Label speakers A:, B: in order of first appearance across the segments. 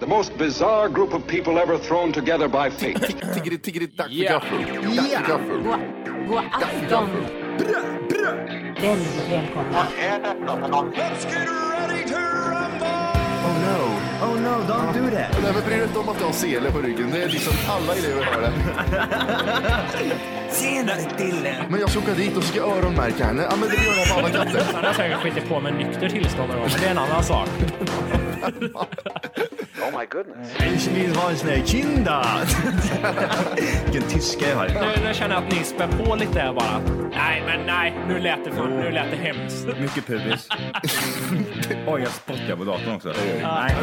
A: The most bizarre group of people ever thrown together by fate.
B: Tiggeri, tiggeri, dack för
C: Ja.
B: gaffel. Dack för gaffel.
D: God, god afton. Väldigt välkomna.
B: Oh no.
E: Oh no, don't do that.
B: Nej, men bry dig inte om att jag har sele på ryggen. Det är liksom alla elever har det.
E: Senare Dille.
B: Men jag ska åka dit och ska öronmärka henne. Ja, men det gör jag på alla katter.
C: Han har säkert skitit på med nykter tillstånd någon gång, men det är en annan sak.
F: Oh,
E: Ich vill ha en sån här kinda. Vilken tyska jag har.
C: Nu, nu känner jag att ni spär på lite här bara. Nej, men nej. Nu lät det, för, nu lät det hemskt.
G: Mycket pubis. Oj, jag spottar på datorn också. Nej.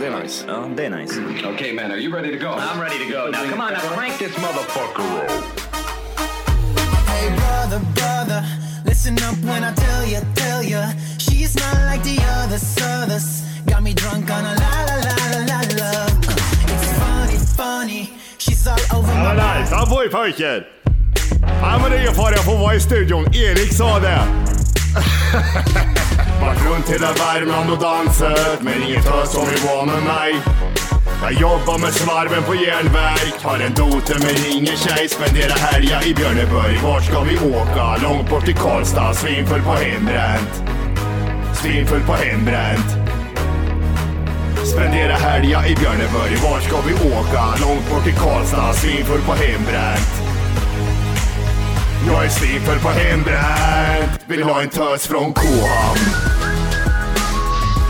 B: Det är nice.
G: Ja, det är nice.
A: okay, man, are you ready to go?
F: I'm ready to go. Now, come on, now crank this motherfucker up.
H: Hey brother, brother, listen up when I tell you, tell you, she's not like the others, others. Got me drunk on a la la la la la love. Uh, It's funny, funny, she's all over my body.
I: Han på er pojken! Han var ingen fara, jag får vara i studion. Erik sa det. Vart runt hela Värmland och dansat, men ingen tös som vill vara med mig. Jag jobbar med svarven på järnverk, har en doter men ingen tjej. Spenderar helga i Björneborg. Vart ska vi åka? Långt bort till Karlstad. Svinfull på hembränt. Svinfull på hembränt. Spendera helga i Björneborg. Vart ska vi åka? Långt bort till Karlstad. Svinfull på hembränt. Jag är svinfull på hembränt. Vill ha en tös från K-hamn.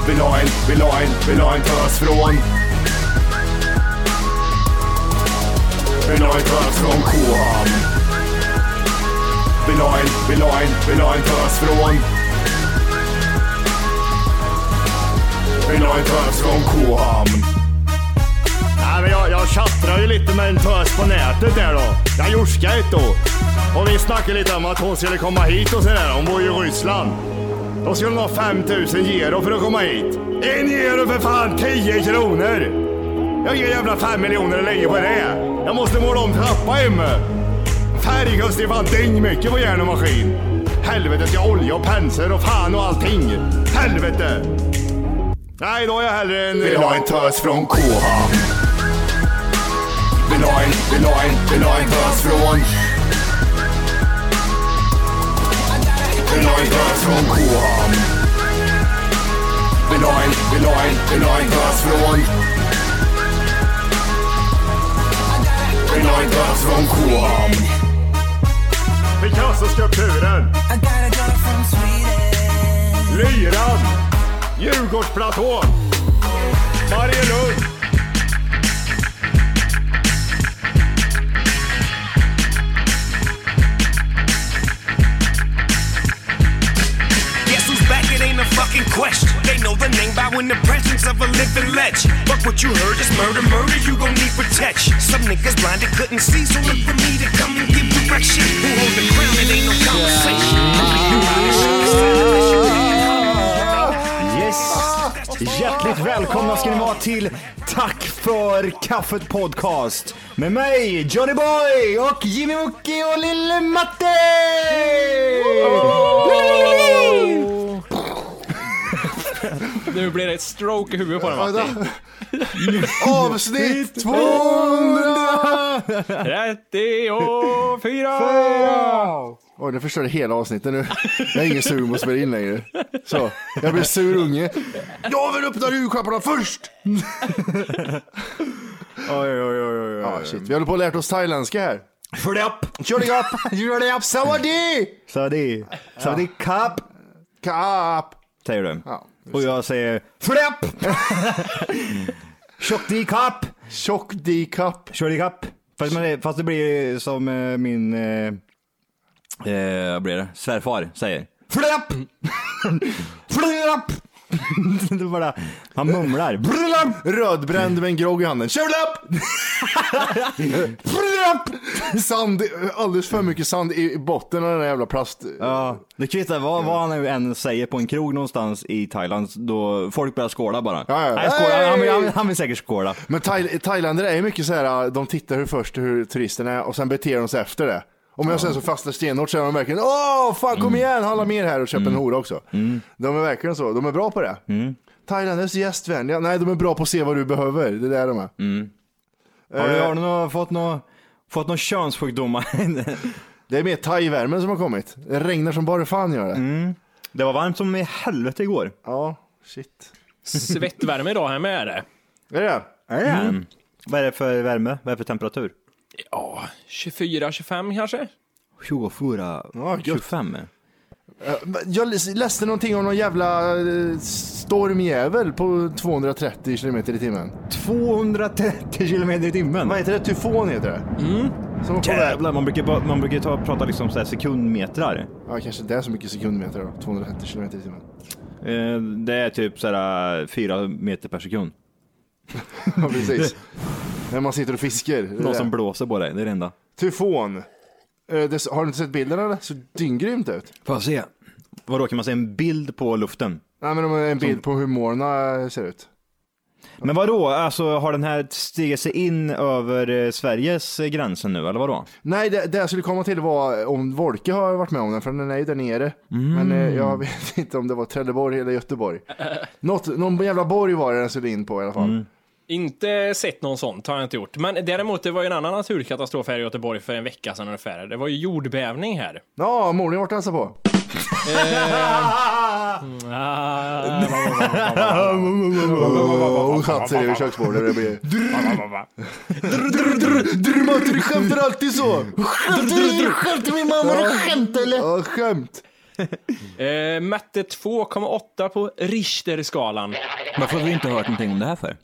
I: Vill ha en, vill ha en, vill ha en tös från. Vill ha en tös från K-hamn. Vill ha en, vill ha en, vill ha en tös från. Vill ha en tös från K-hamn. Nej, men jag, jag tjattrar ju lite med en tös på nätet där då. Jag jorskar ett då. Och vi snackade lite om att hon skulle komma hit och sådär. Hon bor ju i Ryssland. Då skulle hon ha 5000 euro för att komma hit. En euro för fan 10 kronor! Jag ger jävla 5 miljoner eller lägger på det. Jag måste måla om trappa hemma. Färg kostar ju fan dyngmycket på järn och maskin. Helvete, ska olja och pensel och fan och allting. Helvete! Nej, då är jag hellre en... Vill ha en tös från K-hamn. Vill ha en, vill ha en, vill ha en tös från. Vill ha en tös från K-hamn. Vill ha en, vill ha en, vill ha en tös från. Vill ha en tös från K-hamn. Picasso-skulpturen,
H: I got a girl from Sweden.
I: Lyran, Djurgårdsplatån, Marielund.
J: Guess who's back? It ain't a fucking question. They know the name by when the presence of a living legend. Fuck what you heard is murder, murder. You gon' need protection. Some niggas blinded couldn't see, so look for me to come and give direction. Who hold the crown? It ain't no conversation.
G: Yes!
E: Hjärtligt välkomna ska ni vara till Tack för kaffet podcast med mig Johnny Boy och Jimmy Mucki och Lille Matte!
C: Nu blir det ett stroke i huvudet på dem.
B: Vänta. Avsnitt 200!
C: 34!
B: Oj, nu förstörde hela avsnittet nu. Jag är ingen sugen på att spela in längre. Så, jag blir sur unge. Jag vill öppna julklapparna först!
E: Oj, oj, oj, oj.
B: Ah, shit. Vi håller på att lärt oss thailändska här.
E: Kör dig upp! Kör dig upp! Kör dig upp! Sawadee! Sawadee! Sawadee kap!
B: Kap!
E: Säger du.
B: Ja,
E: Och jag säger Kör dig upp! Tjock dig kap!
B: Tjock D-cup.
E: Kör dig upp! Fast, man, fast det blir som eh, min... Eh, eh, vad blir det? Svärfar säger. Kör dig upp! Kör dig upp! det är bara, han mumlar. Kör dig upp!
B: Rödbränd med en grogg i handen. Kör upp!
E: Kör dig upp!
B: Sand, alldeles för mycket sand i botten av den här jävla plast...
E: Ja, det kvittar vad, vad han nu än säger på en krog någonstans i Thailand, då folk börjar skåla bara.
B: Ja, ja.
E: Nej, skåla. Han, vill, han, vill, han vill säkert skåla.
B: äh, Men thail- thailändare är mycket så här, de tittar hur först hur turisterna är och sen beter de sig efter det. Om jag sen så fastnar stenhårt så är de verkligen Åh, fan
E: Mm.
B: kom igen, handla mer här och köp en hora också. De är verkligen så, de är bra på det. Mm. Thailand är så gästvänliga. Nej, de är bra på att se vad du behöver. Det är där de är.
E: Mm.
B: Eh,
E: Har du, har du nå- fått några fått nå könssjukdomar?
B: Det är mer thai-värmen som har kommit. Det regnar som bara fan gör det.
E: Mm. det var varmt som i helvete igår.
B: Ja, shit.
C: Svettvärme idag här med är det.
B: Är det det?
E: Mm. Vad är det för värme? Vad är det för temperatur?
C: Ja, 24-25 kanske?
E: 24,
B: Ja, gött.
E: 25.
B: Jag läs- läste någonting om någon jävla eh, stormjävel på 230 km i timmen.
E: 230 kilometer i timmen.
B: Vad heter det? Tyfon heter det.
E: Mm.
B: Som var på väg.
E: Jävlar, man brukar, bara- man brukar ta, prata liksom så här sekundmetrar.
B: Ja, kanske det är så mycket sekundmeter då. 230 km i timmen.
E: Eh, Det är typ så här 4 meter per sekund.
B: Ja, precis. När man sitter och fiskar. Det är
E: Någon
B: det.
E: som blåser på dig, det är det enda.
B: Tyfon. Eh, det, har du inte sett bilden eller? Så dyngrymt ut.
E: Får jag se? Vadå, kan man se en bild på luften?
B: Nej, men de har en bild på hur molnen ser ut.
E: Men vadå, alltså har den här stigit sig in över eh, Sveriges eh, gränser nu, eller vadå?
B: Nej, det, det jag skulle komma till var om Volke har varit med om den, för den är ju där nere. Men eh,
E: Mm.
B: jag vet inte om det var Trelleborg eller Göteborg. Något, någon jävla borg var det den skulle in på i alla
E: Mm.
B: fall.
C: Inte sett någon sånt, har jag inte gjort. Men däremot, det var ju en annan naturkatastrof här i Göteborg för en vecka sedan ungefär. Det var ju jordbävning här.
B: Ja, Morin vart hälsa på. Eh,
C: Ah,
B: Hon satt sig vid köksbordet. Det blir... Dramater, du skämtar alltid så! Skämtar skämtar min mamma, du skämtar eller? Ja, skämt.
C: eh, mätte 2,8 på Richterskalan.
E: Varför har vi inte hört någonting om det här för?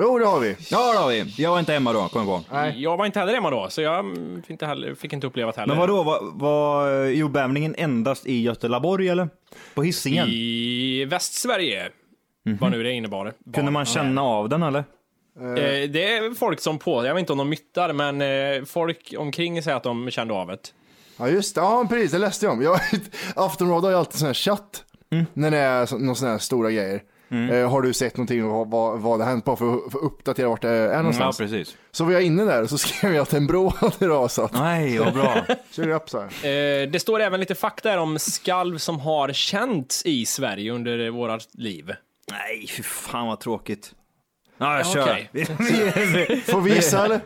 B: Jo, det har vi.
E: Ja, det har vi. Jag var inte hemma då, kom jag på.
C: Jag var inte heller hemma då, så jag mm, fick inte, heller, fick inte uppleva det heller.
E: Men vadå, var, var jordbävningen endast i Göteborg eller? På Hisingen?
C: I Västsverige,
E: Mhm.
C: vad nu det innebar.
E: Kunde man känna av den eller?
C: Eh, det är folk som på, jag vet inte om de myttar, men eh, folk omkring säger att de kände av det.
B: Ja just det, ja precis det läste jag om. Jag, Aftonbladet har ju alltid sån här chatt när det är så- någon sån här stora grejer. Eh, har du sett någonting och vad, vad, vad det hänt? Bara för att för att uppdatera vart det är någonstans.
E: precis.
B: så var jag inne där och så skrev jag att en bro hade rasat.
E: Nej, vad bra.
B: Kör upp så här.
C: Eh, det står även lite fakta här om skalv som har känts i Sverige under eh, våra liv.
E: Nej, fy fan vad tråkigt. Ja, jag
C: Okej.
E: Eh,
B: Får vi gissa eller?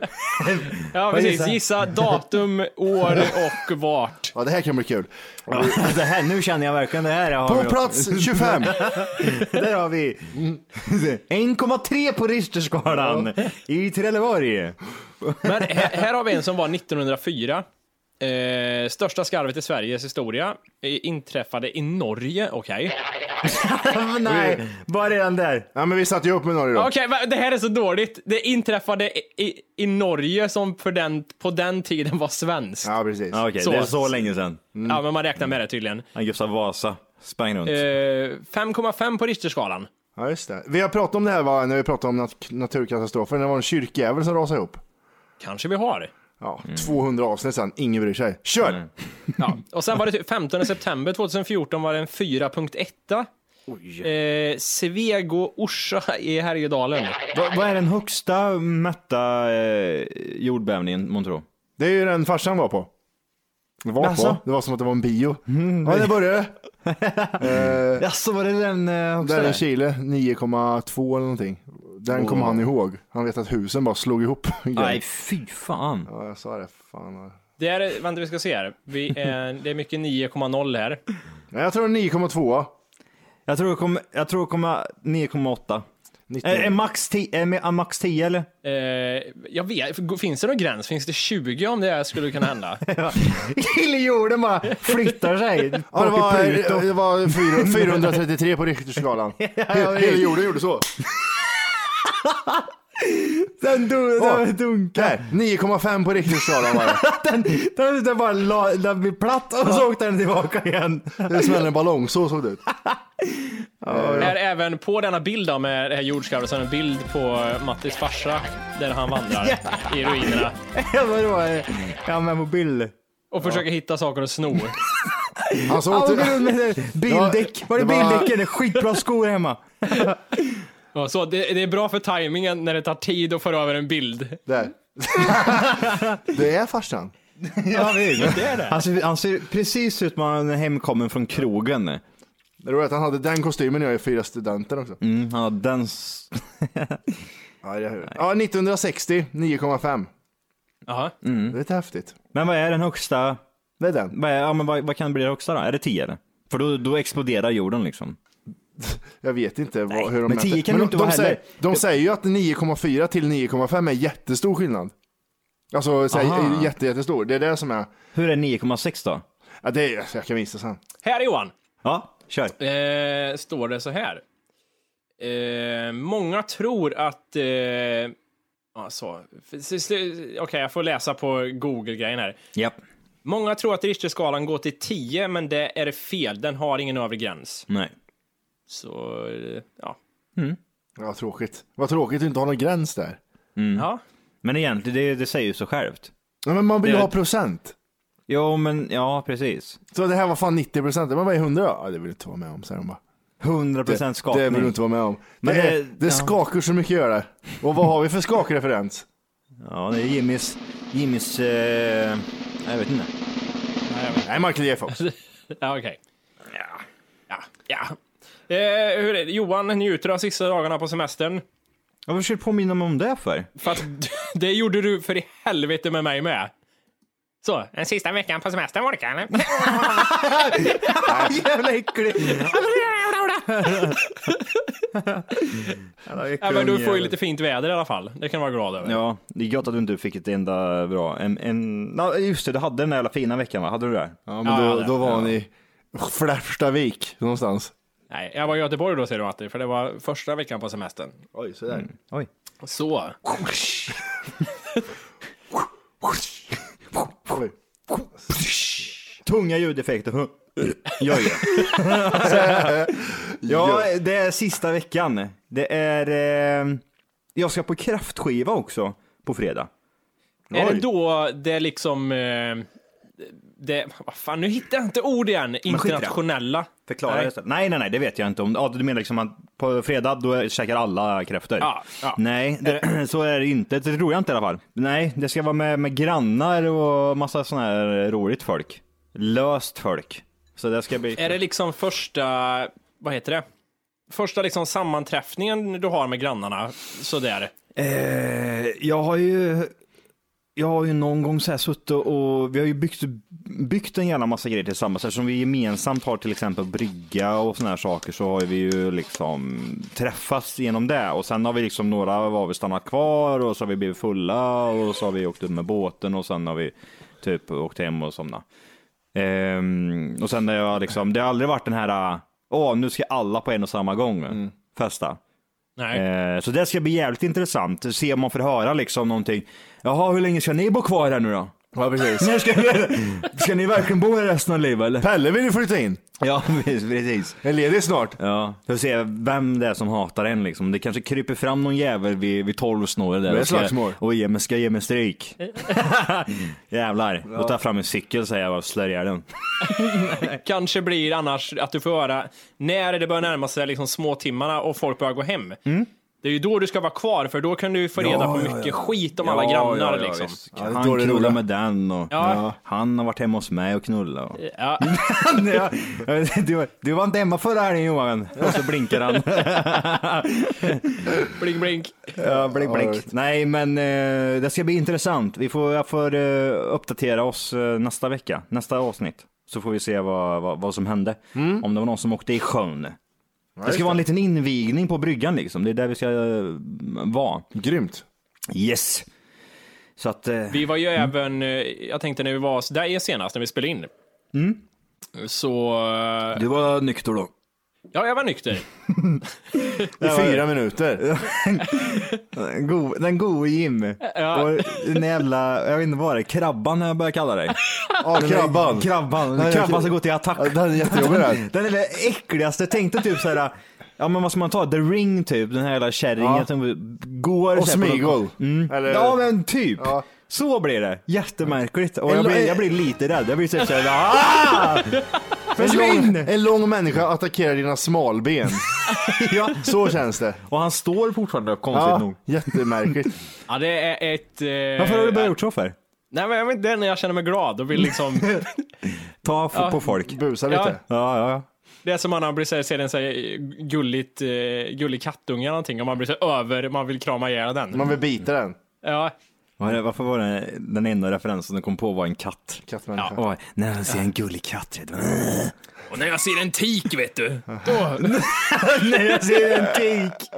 C: Ja, precis. Gissa datum, år och vart.
B: Ja det här kan bli kul.
E: alltså, det här, nu känner jag verkligen det här. Har
B: På
E: vi-
B: plats 25.
E: Där har vi 1,3 på Richterskalan i Trelleborg.
C: Men här, här har vi en som var 1904. Eh, största skarvet i Sveriges historia eh, inträffade i Norge, okej.
E: Ah, Nej, bara redan där.
B: Ja men vi satte ju upp med några idag.
C: Okej, va- det här är så dåligt. Det inträffade i, i, i Norge som för den, på den tiden var svenskt. Ja.
B: Ja precis.
E: Ja, Okej,
C: Så.
E: det är så länge sedan.
C: men man räknar med det tydligen.
E: Han Gustav Vasa sprang runt.
C: Eh, 5,5 på Richterskalan.
B: Ja just det. Vi har pratat om det här va, när vi pratade om nat- naturkatastrofer. När det var en kyrkjävel som rasade ihop.
C: Kanske vi har.
B: Ja, 200 avsnitt sen, ingen bryr sig. Kör!
C: Ja. Och sen var det typ 15 september 2014 var det en 4.1. Eh, Svego Orsa i Härjedalen.
E: Va- vad är den högsta mätta eh, jordbävningen, månntro?
B: Det är ju den farsan var på. Var
E: Jaså?
B: på? Det var som att det var en bio. Ja, det började det. eh,
E: Jaså, var det den eh, högsta?
B: där i
E: där?
B: Chile, 9,2 eller någonting. Den kommer han ihåg. Han vet att husen bara slog ihop.
E: Nej, fy fan.
B: Ja, jag sa det. Fan.
C: Det är, vänta vi ska se här. Vi är, det är mycket 9,0 här.
B: Nej, jag tror 9,2.
E: Jag tror det kommer, jag tror det kommer 9,8.
B: Nitton.
E: Eh, Är, är max 10, är med- är max 10 eller?
C: Eh, jag vet, finns det någon gräns? Finns det 20 om det här skulle kunna hända?
E: Hela jorden bara flyttar sig.
B: Ja, det var,
E: Plockar Pluto.
B: det var fyra- 433 på Richterskalan. Hela jorden gjorde så.
E: Den, dun,
B: Ja.
E: den dunkar.
B: Där, 9,5 på Richterskalan var det.
E: Den, den, den bara la, den blir platt och så åkte den tillbaka igen.
B: Det smällde en ballong, så såg det ut.
C: Är även på denna bild då med det här jordskalvet så är det en bild på eh, Mattis farsa där han vandrar i ruinerna
E: Vadå? Ja, med mobil.
C: och försöker hitta saker att sno.
B: Han sa
E: Ja,
B: åt-
E: åker runt med det. bildäck. Var det
B: det var-
E: bildäck eller skitbra skor hemma?
C: Ja, Så det, det är bra för tajmingen när det tar tid att föra över en bild.
B: Där. det är farsan.
E: Ja,
C: Det är det.
E: Han, ser, han ser precis ut som han är hemkommen från krogen.
B: Det roliga är att han hade den kostymen när jag är fyra studenter också.
E: Mm, han har den... s-
B: Ja, det är... ja 1960, 9,5.
E: Mm.
C: Jaha.
B: Det är lite häftigt.
E: Men vad är den högsta?
B: Det är den.
E: Vad, är, ja, men vad, vad kan bli det högsta då? Är det 10 eller? För då, då exploderar jorden liksom.
B: Jag vet inte vad, hur de
E: men
B: mäter.
E: 10 kan det
B: de,
E: inte
B: de,
E: vara
B: säger,
E: heller.
B: de säger ju att 9,4 till 9,5 är jättestor skillnad. Alltså så här,
E: Aha.
B: jätte, jättestor. Det är det som är.
E: Hur är 9,6 då?
B: Ja, det är jag kan visa sen.
C: Här Johan,
E: Ja, kör.
C: eh, står det så här. Eh, många tror att... Eh, ja, så. F- s- s- Okej, jag får läsa på Google-grejen här.
E: Japp.
C: Många tror att Richterskalan går till 10, men det är fel. Den har ingen övre gräns.
E: Nej.
C: Så, eh, ja.
B: Ja, tråkigt. Vad tråkigt att inte ha någon gräns där.
C: ja.
E: Men egentligen, det, det säger ju sig självt.
B: Ja, men man vill
E: Det-
B: ha procent.
E: Jo, men ja, precis.
B: Så det här var fan 90 procent. Men vad är 100 då? Ja, det vill du inte vara med om, säger de bara.
E: 100% skakning.
B: Det vill du inte vara med om.
E: Men
B: det,
E: det-
B: är, det
E: ja.
B: skakar så mycket gör det. Och vad har vi för skakreferens?
E: Ja, det är Jimmys... Jimmys... Eh, jag vet inte.
B: Nej, Michael J. Fox.
C: Ja, okej. Ja. Ja. ja. Eh, hur är det? Johan njuter av sista dagarna på semestern.
E: Ja, Varför ska du påminna mig om det för?
C: För att det gjorde du för i helvete med mig med. Så, den sista veckan på semestern var det kan.
E: Jävla äcklig!
C: Ja, men du får ju lite fint väder i alla fall. Det kan du vara glad över.
E: Ja, det är gött att du inte fick ett enda bra... En, en... Ja, just det, du hade den där jävla fina veckan va? Hade du det?
B: Ja, men
C: Ja,
B: då,
C: det-
B: då var ni i Flärstavik någonstans.
C: Nej, jag var i Göteborg då säger du Matti, för det var första veckan på semestern.
B: Oj, sådär.
E: Oj.
C: Så.
B: Oj.
E: Tunga ljudeffekter. Gör det. ja, det är sista veckan. Det är... Eh... Jag ska på kraftskiva också på fredag.
C: Är
B: Oj.
C: det då det liksom... Eh, det, vad fan, nu hittar jag inte ord igen.
E: skit i det.
C: Internationella.
E: Förklara
C: Nej.
E: nej. det. Nej, nej, nej, det vet jag inte. Om, ja, du menar liksom att på fredag då käkar alla kräftor?
C: Ja, ja.
E: Nej, det, så är det inte. Det tror jag inte i alla fall. Nej, det ska vara med, med grannar och massa sån här roligt folk. Löst folk. Så det ska bli...
C: Är det liksom första, vad heter det? Första liksom sammanträffningen du har med grannarna, sådär.
E: Eh, jag har ju... Jag har ju någon gång så här suttit och vi har ju byggt, byggt en jävla massa grejer tillsammans. Eftersom vi gemensamt har till exempel brygga och såna här saker så har vi ju liksom träffats genom det. Och sen har vi liksom några var vi stannat kvar och så har vi blivit fulla och så har vi åkt ut med båten och sen har vi typ åkt hem och somnat. Ehm, och sen har jag liksom, det har aldrig varit den här, åh nu ska alla på en och samma gång festa.
C: Nej.
E: Eh, Så det ska bli jävligt intressant. Se om man får höra liksom någonting. Jaha, hur länge ska ni bo kvar här nu då?
B: Ja, precis.
E: När ska, ni, ska ni verkligen bo här resten av livet eller?
B: Pelle vill ju flytta in.
E: Ja, precis.
B: Är ledig snart.
E: Ja, får se vem det är som hatar en liksom. Det kanske kryper fram någon jävel vid, vid tolvsnåret där.
B: Det är
E: och ska-
B: slagsmål.
E: Och ge mig, ska ge mig stryk. Jävlar. Då tar jag fram en cykel säger jag och slår ihjäl den.
C: Kanske blir annars att du får höra när det börjar närma sig liksom småtimmarna och folk börjar gå hem.
E: Mm.
C: Det är ju då du ska vara kvar, för då kan du få reda på mycket skit om alla grannar. liksom.
E: visst.
B: det är
E: Han
B: dålig
E: knullar
B: rola.
E: med den och
C: Ja.
E: han har varit hemma hos mig och knullat. Och...
C: Ja.
E: Ja, du, var- du var inte hemma förra helgen Johan. Och så blinkar han.
C: blink, blink.
E: ja, blink, blink. Nej, men eh, det ska bli intressant. Vi får, jag får eh, uppdatera oss eh, nästa vecka, nästa avsnitt. Så får vi se vad, vad, vad som hände. Om det var någon som åkte i sjön. Det ska vara en liten invigning på bryggan liksom. Det är där vi ska eh, vara.
B: Grymt.
E: Yes! Så att... Eh,
C: Vi var ju även, eh, jag tänkte när vi var så där senast, när vi spelade in.
E: Mm.
C: Så, eh,
E: Du var nykter då?
C: ja, jag var nykter.
B: I fyra minuter.
E: Go, den gode Jim.
C: Ja.
E: Och den jävla, jag vet inte vad det är, krabban jag börjar kalla dig.
B: Ja, krabban.
E: Krabban.
B: Nej,
E: krabban
B: jag-
E: ska gå till attack.
B: Ja, Den är jättejobbig den.
E: Den är det äckligaste, tänk dig typ såhär, ja men vad ska man ta, the ring typ, den här jävla kärringen
B: Ja.
E: som går
B: Och
E: så här på-
B: Smeagol.
E: Mm.
B: Eller-
E: Ja men typ.
B: Ja.
E: Så blir det, jättemärkligt. Och
B: En
E: jag
B: lo-
E: blir, jag blir lite rädd, jag blir typ såhär, ah!
B: En lång,
E: Försvinn!
B: en lång människa attackerar dina smalben.
E: Ja.
B: Så känns det.
E: Och han står fortfarande konstigt
B: Ja,
E: nog.
B: jättemärkligt.
C: Ja, det är ett... eh,
E: Varför har du börjat gjort så för?
C: Nej, men jag vet inte, det är när jag känner mig glad och vill liksom...
E: Ta f-
C: Ja.
E: på folk.
B: Busa
C: Ja.
B: lite.
E: Ja, ja, ja.
C: Det är som man blir såhär, ser en såhär gulligt, eh, gullig kattunge eller någonting och man blir så över, man vill krama ihjäl den.
B: Man vill bita den.
C: Ja,
E: Var det- Varför var det den enda referensen du kom på var en katt?
B: Kattmänniska.
E: Åh, när jag ser en gullig katt. vet du.
C: Och när jag ser en tik, vet du. Då.
E: när jag ser en tik.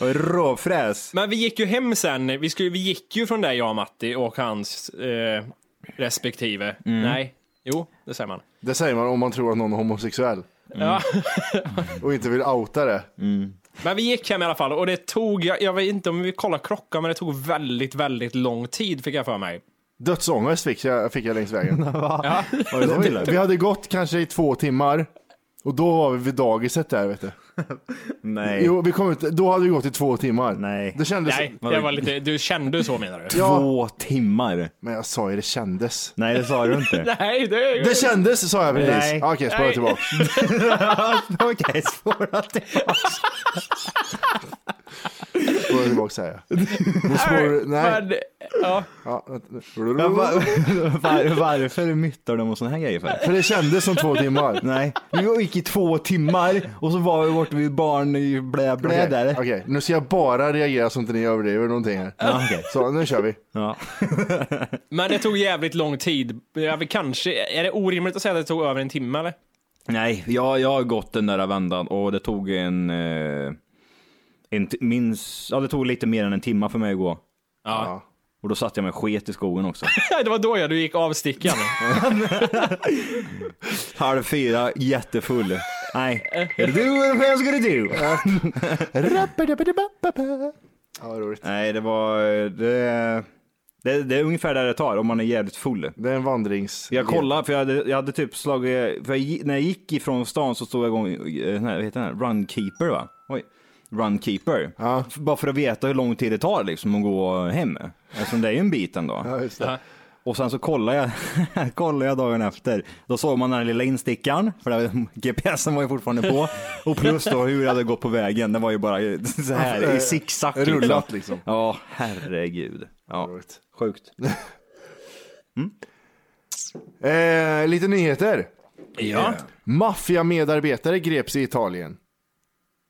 E: Och Råfräs.
C: Men vi gick ju hem sen. Vi, skulle, vi gick ju från där, jag och Matti och hans eh, respektive.
B: Mm.
C: Nej, jo, det säger man.
B: Det säger man om man tror att någon är homosexuell.
C: Ja.
B: Och inte vill outa det.
C: Men vi gick hem i alla fall och det tog, jag, jag vet inte om vi kollar klockan, men det tog väldigt, väldigt lång tid fick jag för mig.
B: Dödsångest fick jag, fick jag längs vägen.
C: Ja.
E: Var det så illa?
B: vi hade gått kanske i två timmar. Och då var vi vid dagiset där vet du.
E: Nej.
B: Jo, vi kom ut, då hade vi gått i två timmar.
E: Nej.
B: Det kändes...
C: Nej, det var lite, du kände så menar du?
E: Två timmar.
B: Men jag sa ju det kändes.
E: Nej, det sa du inte.
C: Nej, det,
B: Det kändes sa jag precis.
E: Nej.
B: Okej, spara
C: Nej.
B: tillbaka.
E: Okej, spåra tillbaka.
B: Spara tillbaka säger jag. Nu spår, nej.
C: Men, ja.
B: Ja, vänta nu.
E: Men va- var, varför myttar de om sådana här grejer för?
B: För det kändes som två timmar.
E: Nej, vi gick i två timmar och så var vi borta vid barn i blä blä
B: Okej,
E: där.
B: Okej, nu ska jag bara reagera så inte ni överdriver någonting här.
E: Ja, okej.
B: Så nu kör vi.
E: Ja.
C: men det tog jävligt lång tid. Jag vill kanske, är det orimligt att säga att det tog över en timme eller?
E: Nej, jag, jag har gått den där vändan och det tog en... eh, en t- minst, ja, det tog lite mer än en timme för mig att gå.
C: Ja.
E: Och då satte jag mig sket i skogen också.
C: Det var då jag, du gick avstickaren.
E: Halv fyra, jättefull. Nej, är det du eller vem ska det du?
B: Rappadibbadibbababa. Ja, vad roligt.
E: Nej, det var... eh, Det, det, det är ungefär där det tar om man är jävligt full.
B: Det är en vandrings...
E: Jag kollade, för jag hade, jag hade typ slagit, för jag, gi- när jag gick ifrån stan så stod jag igång, eh, den här, vad heter den här, runkeeper va? Oj. Runkeeper.
B: Ja.
E: F- Bara för att veta hur lång tid det tar liksom att gå hem. Eftersom det är ju en bit ändå.
B: Ja, just det.
E: Och sen så kollade jag, kollade jag dagen efter. Då såg man den här lilla instickaren, för det, GPSen var ju fortfarande på. Och plus då hur jag hade gått på vägen. Den var ju bara så här i zigzag. liksom.
B: Rullat liksom.
E: Ja, herregud. Ja,
B: Roligt.
E: sjukt.
B: Eh, lite nyheter.
C: ja.
B: Maffiamedarbetare greps i Italien.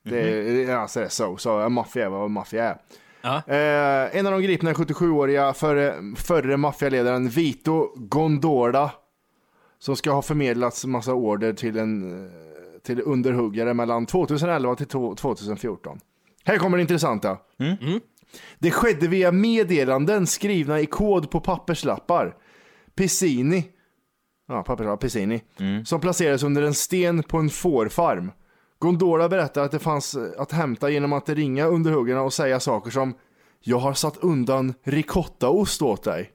B: Det är, alltså det är så, så ja, maffia är vad maffia är.
C: Ja.
B: Eh, en av de gripna är 77-åriga förre, förre maffialedaren Vito Gondola. Som ska ha förmedlats massa order till en eh, till underhuggare mellan 2011 till to- 2014. Här kommer det intressanta. Det skedde via meddelanden skrivna i kod på papperslappar. Piscini, ja, papperslapp, Piscini,
E: Mm.
B: som placerades under en sten på en fårfarm. Gondola berättar att det fanns att hämta genom att ringa underhuggarna och säga saker som Jag har satt undan ricottaost åt dig.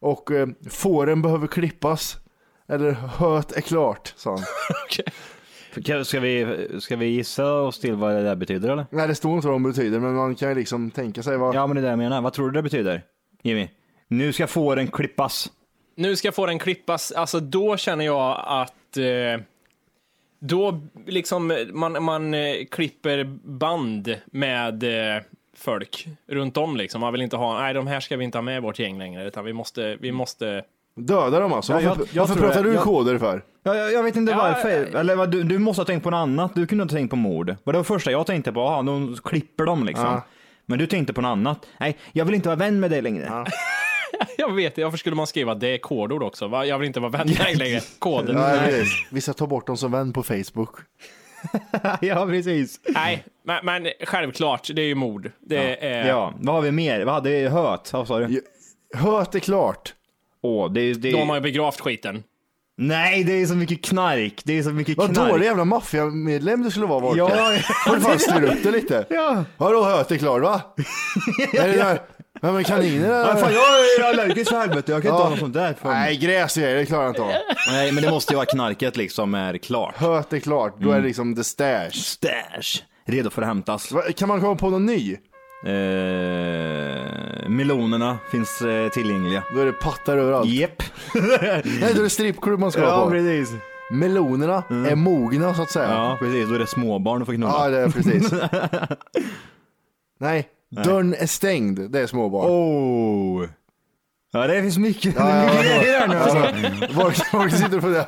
B: Och eh, fåren behöver klippas. Eller höet är klart, sa han.
E: Ska vi, ska vi gissa oss till vad det där betyder eller?
B: Nej, det står inte vad de betyder, men man kan ju liksom tänka sig vad...
E: Ja men det är det jag menar. Vad tror du det betyder? Jimmy? Nu ska fåren klippas.
C: Nu ska jag få den klippas. Alltså då känner jag att eh, då liksom eh, man, man eh, klipper band med eh, folk runt om liksom. Man vill inte ha, nej de här ska vi inte ha med i vårt gäng längre utan vi måste, vi måste.
B: Döda dem alltså?
E: Ja,
B: varför
E: jag- jag
B: varför
E: tror
B: pratar
E: det.
B: du
E: Jag-
B: koder för?
E: Ja, jag, jag vet inte
C: Ja,
E: varför.
C: ja, ja.
E: Eller vad, du, du måste ha tänkt på något annat. Du kunde inte ha tänkt på mord. Vad det var första jag tänkte på. Jaha, de klipper dem liksom.
B: Ja.
E: Men du tänkte på något annat. Nej, jag vill inte vara vän med dig längre.
C: Jag vet inte, varför skulle man skriva det är kodord också? Va? Jag vill inte vara vän med dig längre. Koden.
B: Ja,
C: nej.
B: precis. Vissa tar bort dem som vän på Facebook.
E: ja, precis.
C: nej, men, men självklart, det är ju mord. Det är,
E: Ja, vad har vi mer? Vad hade vi? Höt? Vad sa du?
B: Höet är klart.
E: Åh, det, är- det,
C: De
E: är-
C: har ju begravt skiten.
E: Nej, det är så mycket knark. Det är så mycket
B: Vad
E: knark.
B: dålig jävla maffiamedlem du skulle vara Volker.
E: Ja.
B: Håll fast styr upp det lite.
E: Ja.
B: Vadå höet är klart va? är det där? Ja men kaniner
E: Ja, fan,
B: eller?
E: jag är allergisk för helvete. Jag kan inte
B: Ja.
E: ha något sånt där. För mig.
B: Nej gräs är det, det klarar jag inte av.
E: Nej, men det måste ju vara knarket liksom är klart.
B: Höet är klart, då är det liksom the stash.
E: Stash. Redo för att hämtas.
B: Va, Kan man komma på någon ny?
E: Eh, melonerna finns eh, tillgängliga.
B: Då är det pattar överallt.
E: Jep.
B: Nej då är det strippklubb man ska på.
E: precis. Mm.
B: Melonerna är mogna så att säga.
E: Ja, precis. Då är det småbarn du får knulla.
B: Ja, det är precis. Nej, dörren är stängd. Det är småbarn.
E: Oh. Ja, det finns mycket.
B: Ja, ja,
E: mycket grejer här nu
B: alltså.
E: alltså.
B: Folk, folk sitter på det.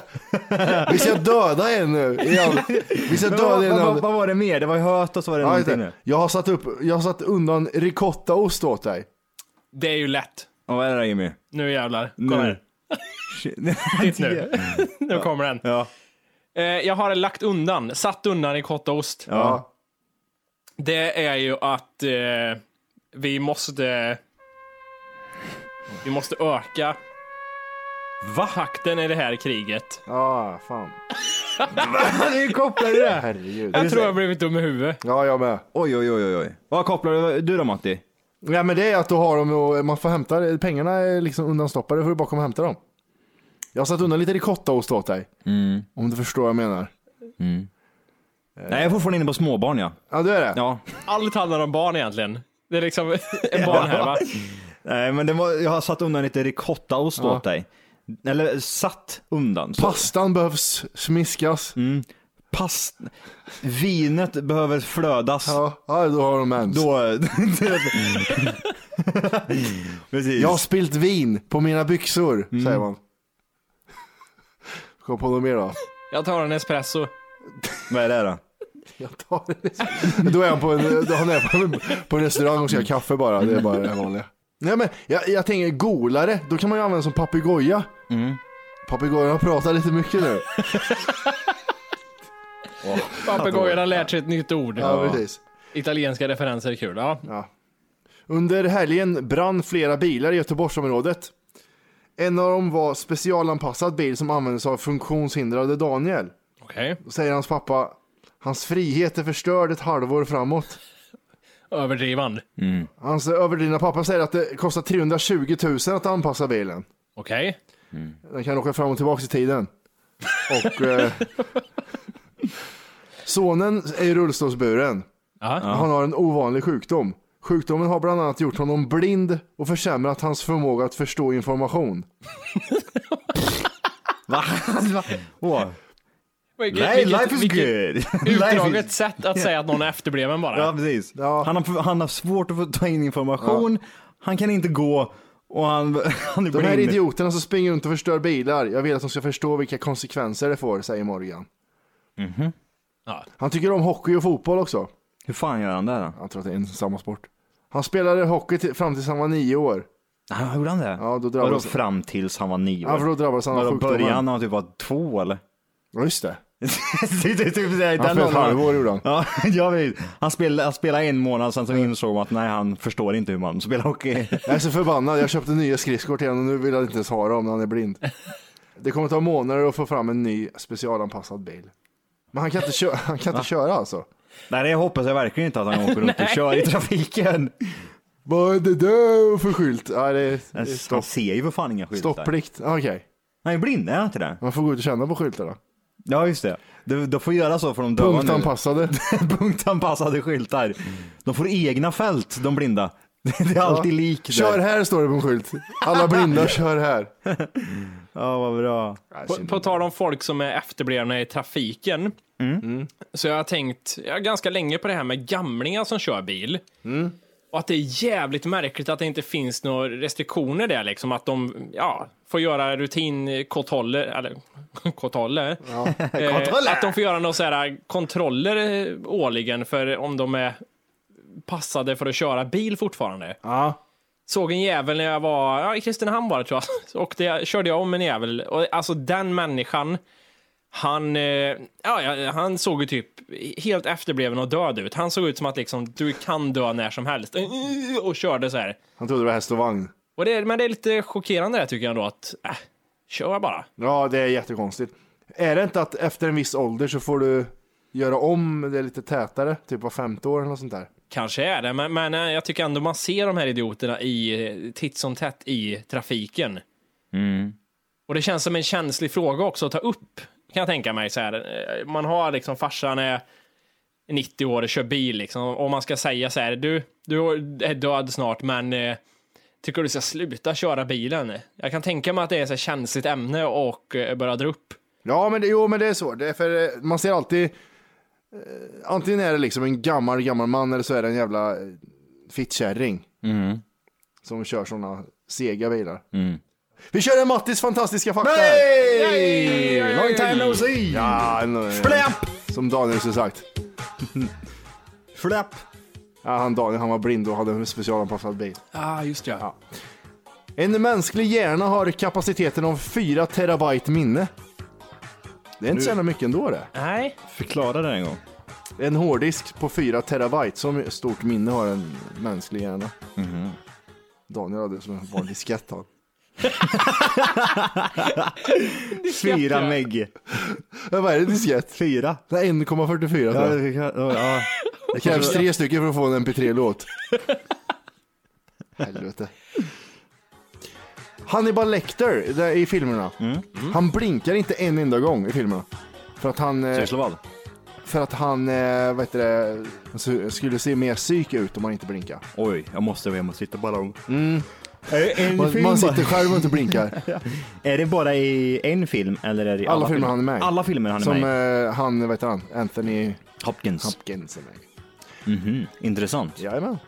B: Vi ska döda en nu. Igen. Vi ska
E: Men vad,
B: döda en.
E: vad, vad,
B: av-
E: vad var det mer? Det var höt och så var det
B: Ja, just
E: någonting
B: det.
E: nu.
B: Jag har satt upp, jag har satt undan ricottaost åt dig.
C: Det är ju lätt.
E: Ja, vad är det där Jimmy?
C: Nu jävlar. Kom här. Titt nu. nu kommer den.
E: Ja.
C: Eh, jag har lagt undan, satt undan i kottaost.
E: Ja.
C: Det är ju att eh, vi måste... Vi måste öka Va? takten i det här kriget.
B: Ja, fan.
E: Nu kopplar du det.
B: Herregud.
C: Jag tror jag har blivit dum i huvudet.
B: Ja, jag med.
E: Oj, oj, oj, oj, oj. Vad kopplar du, du då
B: Eh.
E: Matti?
B: Ja, men det är att du har dem och man får hämta det. pengarna är liksom undanstoppade. får du bara komma och hämta dem. Jag har satt undan lite ricottaost åt dig. Om du förstår vad jag menar.
E: Nej, jag är fortfarande inne på småbarn ja.
B: Ja, du är det?
E: Ja.
C: Allt handlar om barn egentligen. Det är liksom en barn här va?
E: Nej, men det var, jag har satt undan lite ricottaost åt dig. Eller satt undan. Så.
B: Pastan behövs smiskas.
E: Pass. Vinet behöver flödas.
B: Ja, ja, då har de mens.
E: Då... Precis.
B: Jag har spilt vin på mina byxor, säger man. Kom på något mer då.
C: Jag tar en espresso.
E: Vad är det då?
B: Jag tar det. Då är han på en, då är han är på en, på en restaurang och ska ha kaffe bara. Det är bara det vanliga. Nej, men jag, jag tänker golare, då kan man ju använda som papegoja. Papegojan pratar lite mycket nu.
C: Papegojan har lärt sig ett nytt ord.
B: Ja, precis.
C: Italienska referenser är kul. Ja.
B: Under helgen brann flera bilar i Göteborgsområdet. En av dem var specialanpassad bil som användes av funktionshindrade Daniel.
C: Okej.
B: Då säger hans pappa, hans frihet är förstörd ett halvår framåt.
C: Överdrivande.
B: Hans överdrivna pappa säger att det kostar 320 000 att anpassa bilen.
C: Okej.
B: Den kan åka fram och tillbaka i tiden. Och, eh, sonen är ju rullstolsburen.
C: Ja.
B: Han har en ovanlig sjukdom. Sjukdomen har bland annat gjort honom blind och försämrat hans förmåga att förstå information.
E: Va? Va? Åh.
C: Vilket-
E: Nej,
C: vilket-
E: life is
C: vilket
E: good. Life
C: Utdraget
E: is-
C: sätt att säga att någon är efterbliven bara.
E: Ja, precis.
B: Ja.
E: Han, har, han har svårt att få ta in information, han kan inte gå och han, han är
B: De här
E: blind.
B: idioterna som springer runt och förstör bilar, jag vill att de ska förstå vilka konsekvenser det får, säger Morgan.
C: Mhm. Ja.
B: Han tycker om hockey och fotboll också.
E: Hur fan gör han det då?
B: Jag tror att det är en samma sport. Han spelade hockey till, fram tills han var nio år.
E: Han gjorde han det?
B: Ja, då
E: Vadå
B: drabbades,
E: fram tills han var nio
B: ja, för
E: år?
B: då drabbades han av
E: Vadå,
B: sjukdomen.
E: början när han typ var två eller?
B: Ja, just det.
E: det är typ så här, i
B: Han
E: den
B: spelade ett
E: åldern.
B: halvår gjorde han.
E: Ja, jag vet. Han spelade, han spelade en månad, sen så insåg man att nej, han förstår inte hur man spelar hockey.
B: Jag är så förbannad. Jag köpte nya skridskor till honom och nu vill han inte ens ha dem när han är blind. Det kommer ta månader att få fram en ny specialanpassad bil. Men han kan inte köra, han kan inte köra alltså.
E: nej, det hoppas jag verkligen inte att han åker runt och kör i trafiken.
B: Vad är det där för skylt? Ja, det är, det är
E: Alltså, Han
B: stopp,
E: ser ju för fan inga skyltar.
B: stopplikt. Ja, Okej,
E: Han är blind, är han inte det?
B: man får gå ut och känna på skyltarna.
E: Ja, just det. Du, du får göra så för de döva nu.
B: Punktanpassade.
E: Punktanpassade skyltar.
B: Mm.
E: De får egna fält, de blinda. Det är alltid lik där.
B: Kör här står det på en skylt. Alla blinda kör här.
E: Ja, vad bra.
C: På, på tal om folk som är efterblivna i trafiken. Så jag har tänkt jag har ganska länge på det här med gamlingar som kör bil. Och att det är jävligt märkligt att det inte finns några restriktioner där liksom. Att de ja, får göra rutinkontroller, eller kontroller. Eh, att de får göra några så här kontroller eh, årligen för om de är passade för att köra bil fortfarande. Såg en jävel när jag var ja, i Kristinehamn var det tror jag. Och det, körde jag om en jävel. Och, alltså den människan, han, eh, ja, ja, han såg ju typ helt efterbliven och död ut. Han såg ut som att liksom, du kan dö när som helst. Och körde så här.
B: Han trodde det var häst och vagn.
C: Och det, är- men det är lite chockerande det tycker jag ändå att, äh, kör bara.
B: Ja, det är jättekonstigt. Är det inte att efter en viss ålder så får du göra om det lite tätare, typ var femte år eller något sånt där?
C: Kanske är det, men, men eh, jag tycker ändå man ser de här idioterna i, eh, titt som tätt i trafiken. Och det känns som en känslig fråga också att ta upp, kan jag tänka mig. Så här. Eh, Man har liksom, farsan är 90 år och kör bil liksom, och man ska säga så här, du, du är död snart, men eh, tycker du ska sluta köra bilen? Jag kan tänka mig att det är ett känsligt ämne och eh, börja dra upp.
B: Ja, men det, jo, men det är så. Det är för, eh, man ser alltid, eh, antingen är det liksom en gammal, gammal man eller så är det en jävla eh, fittkärring. Som kör sådana sega bilar.
E: Mm.
B: Vi kör en Mattis fantastiska fakta.
E: Hey! Long time no see!
B: Ja, en- eh,
E: Fläpp!
B: Som Daniel skulle sagt.
E: Fläpp!
B: Ja, han Daniel han var blind och hade en specialanpassad bil.
C: Ah, just ja.
B: En mänsklig hjärna har kapaciteten av 4 terabyte minne. Det är inte så jävla mycket ändå det.
C: Nej.
E: Förklara det en gång.
B: En hårddisk på 4 terabyte, som stort minne har en mänsklig hjärna. Daniel hade som en vanlig diskett han.
E: Fyra meg.
B: Ja, Vad är det diskett?
E: Fyra.
B: Det är 1,44 tror
E: Ja,
B: jag.
E: det- ja.
B: Det krävs tre stycken för att få en mp3-låt. Helvete. Hannibal Lecter där i filmerna. Han blinkar inte en enda gång i filmerna. För att han... eh,
E: Syslövad.
B: För att han eh, vad heter det, alltså, skulle se mer psyk ut om man inte blinkar.
E: Oj, jag måste hem och sitta ballong.
B: Man, man sitter själv och inte blinkar.
E: Är det bara i en film eller är det i
B: Alla filmer han är med i.
E: Alla filmer han är
B: Som
E: med i.
B: eh, han, vad heter han, Anthony
E: Hopkins.
B: Hopkins är med i.
E: Intressant.
B: Jajamän.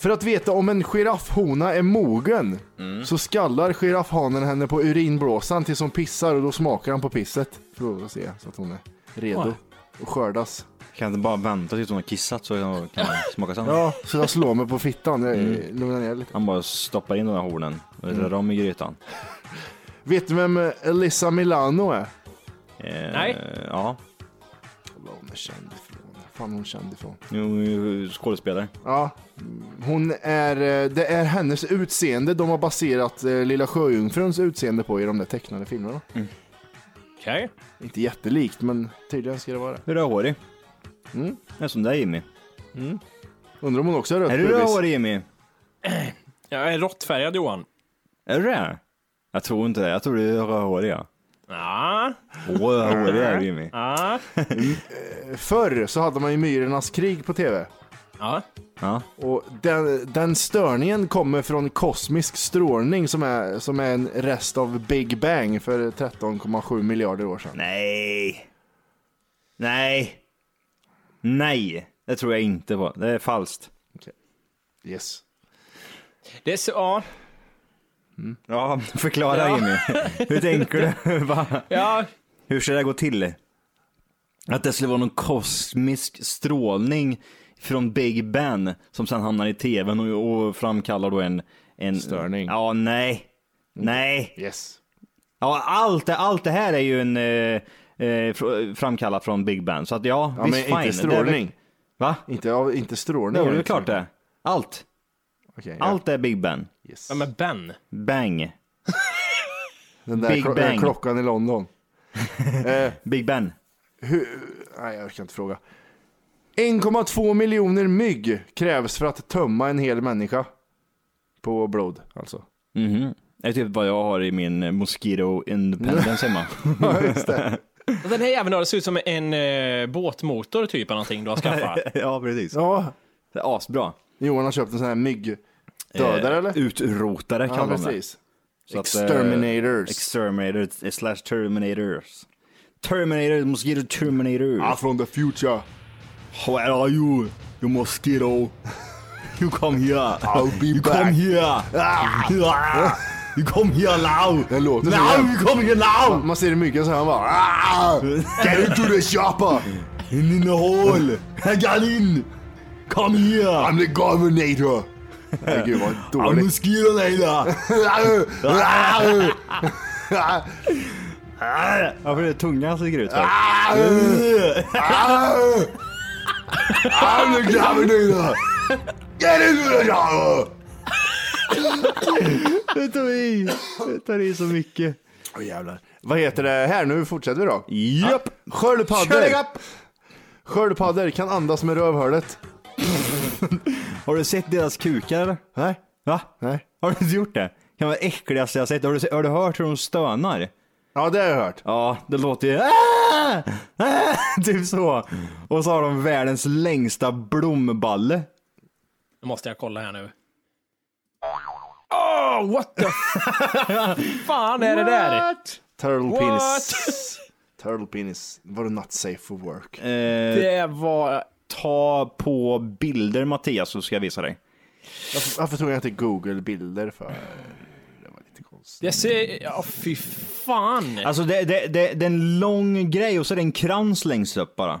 B: För att veta om en giraffhona är mogen
E: Mm.
B: så skallar giraffhanen henne på urinblåsan tills hon pissar och då smakar han på pisset. För att se så att hon är redo och skördas.
E: Kan inte bara vänta tills hon har kissat så kan man smaka sen.
B: Ja, så jag slår mig på fittan. Jag
E: Mm.
B: eh, lugnar ner lite.
E: Han bara stoppar in den här hornen och
B: Mm.
E: rör om i grytan.
B: Vet du vem eh, Elisa Milano är?
E: Eh,
C: Nej.
E: Ja,
B: Vad hon är känd ifrån. Fan hon är känd ifrån.
E: Jo, skådespelare.
B: Ja, hon är, eh, det är hennes utseende de har baserat eh, Lilla Sjöjungfruns utseende på i de där tecknade filmerna.
C: Okej.
B: Inte jättelikt, men tydligen ska det vara det.
E: Rödhårig.
B: Mm.
E: Det är som dig Jimmy.
B: Undrar om hon också har rött
E: Är du rödhårig Jimmy?
C: Jag är råttfärgad Johan.
E: Är du det? Jag tror inte det. Jag tror du är rödhårig ja.
C: Ja.
E: Rödhårig är du Jimmy.
C: Ja.
B: Förr så hade man ju Myrornas krig på tv.
C: Ja.
E: Ja.
B: Och den, den störningen kommer från kosmisk strålning som är, som är en rest av Big Bang för 13,7 miljarder år sedan.
E: Nej. Nej. Nej. Det tror jag inte på. Det är falskt.
B: Yes.
C: Det är så, ja.
E: Ja, förklara
C: Ja.
E: Jimmy. Hur tänker du? Va?
C: ja.
E: Hur ska det gå till? Att det skulle vara någon kosmisk strålning från Big Ben som sen hamnar i tvn och, och framkallar då en, en...
B: Störning.
E: Ja, nej. Nej.
B: Yes.
E: Ja, allt, det- allt det här är ju en... Eh, eh, fr- framkallat från Big Ben. Så att ja,
B: Ja,
E: visst
B: men
E: fine. Det är
B: inte
E: väl-
B: strålning.
E: Va?
B: Inte, ja, inte strålning.
E: Jo, det är väl klart det. Allt.
B: Okej, ja.
E: Allt är Big Ben.
B: Yes.
C: ja, men Ben.
E: Bang.
B: Den där
E: Big
B: klo- den där
E: Bang.
B: klockan i London. eh,
E: Big Ben.
B: nej, jag kan inte fråga. 1,2 miljoner mygg krävs för att tömma en hel människa. På blod, alltså.
E: Mhm. Det är typ vad jag har i min eh, Mosquito Independence hemma.
C: Den här jäveln har- det ser ut som en eh, båtmotor typ eller någonting du har skaffat.
E: ja, precis.
B: Ja,
E: Det är asbra.
B: Johan har köpt en sån här myggdödare
E: Eh,
B: eller?
E: Utrotare
B: Ja,
E: kallar de det.
B: precis.
E: Så att, eh,
B: Exterminators.
E: Exterminators eh, slash Terminators. Terminator, Mosquito Terminator.
B: ah, from the future.
E: Where are you? You mosquito. You come here.
B: I'll be
E: you
B: back.
E: come here. Ah. You come here now.
B: Det låter så
E: now
B: jävla-
E: Ah, you come here now.
B: Man ser myggen så här, han bara ah, Get into the shopper!
E: In, in the hole. I got in. Come here.
B: I'm the governator! Nej, gud vad
E: I'm
B: dåligt. Ah!
E: mosquito later. Varför är det tungan som sticker ut?
B: Ah! I'm the governator! Get into the shopper!
E: Det tar i. Det tar i så mycket.
B: Åh jävlar. Vad heter det här? Nu fortsätter vi då.
E: Japp. Kör
B: Sköldpaddor!
E: igång.
B: Sköldpaddor kan andas med rövhålet.
E: Har du sett deras kukar eller?
B: Nej.
E: Va?
B: Nej.
E: Har du inte gjort det? Det kan vara det äckligaste jag har sett. Har du, se- har du hört hur de stönar?
B: Ja, det har jag hört.
E: Ja, det låter ju... "Ah! Ah!" Typ så. Och så har de världens längsta blomballe.
C: Nu måste jag kolla här nu. Oh, what the fan är det där?
B: Turtle
C: What?
B: penis. Turtle penis. Var du not safe for work?
E: Eh,
C: Det var...
E: ta på bilder Mattias så ska jag visa dig.
B: Varför, varför tog jag inte Google bilder för?
C: Det ser... Ja, fy fan.
E: Alltså det, det, det, det är en lång grej och så är det en krans längst upp bara.
C: Det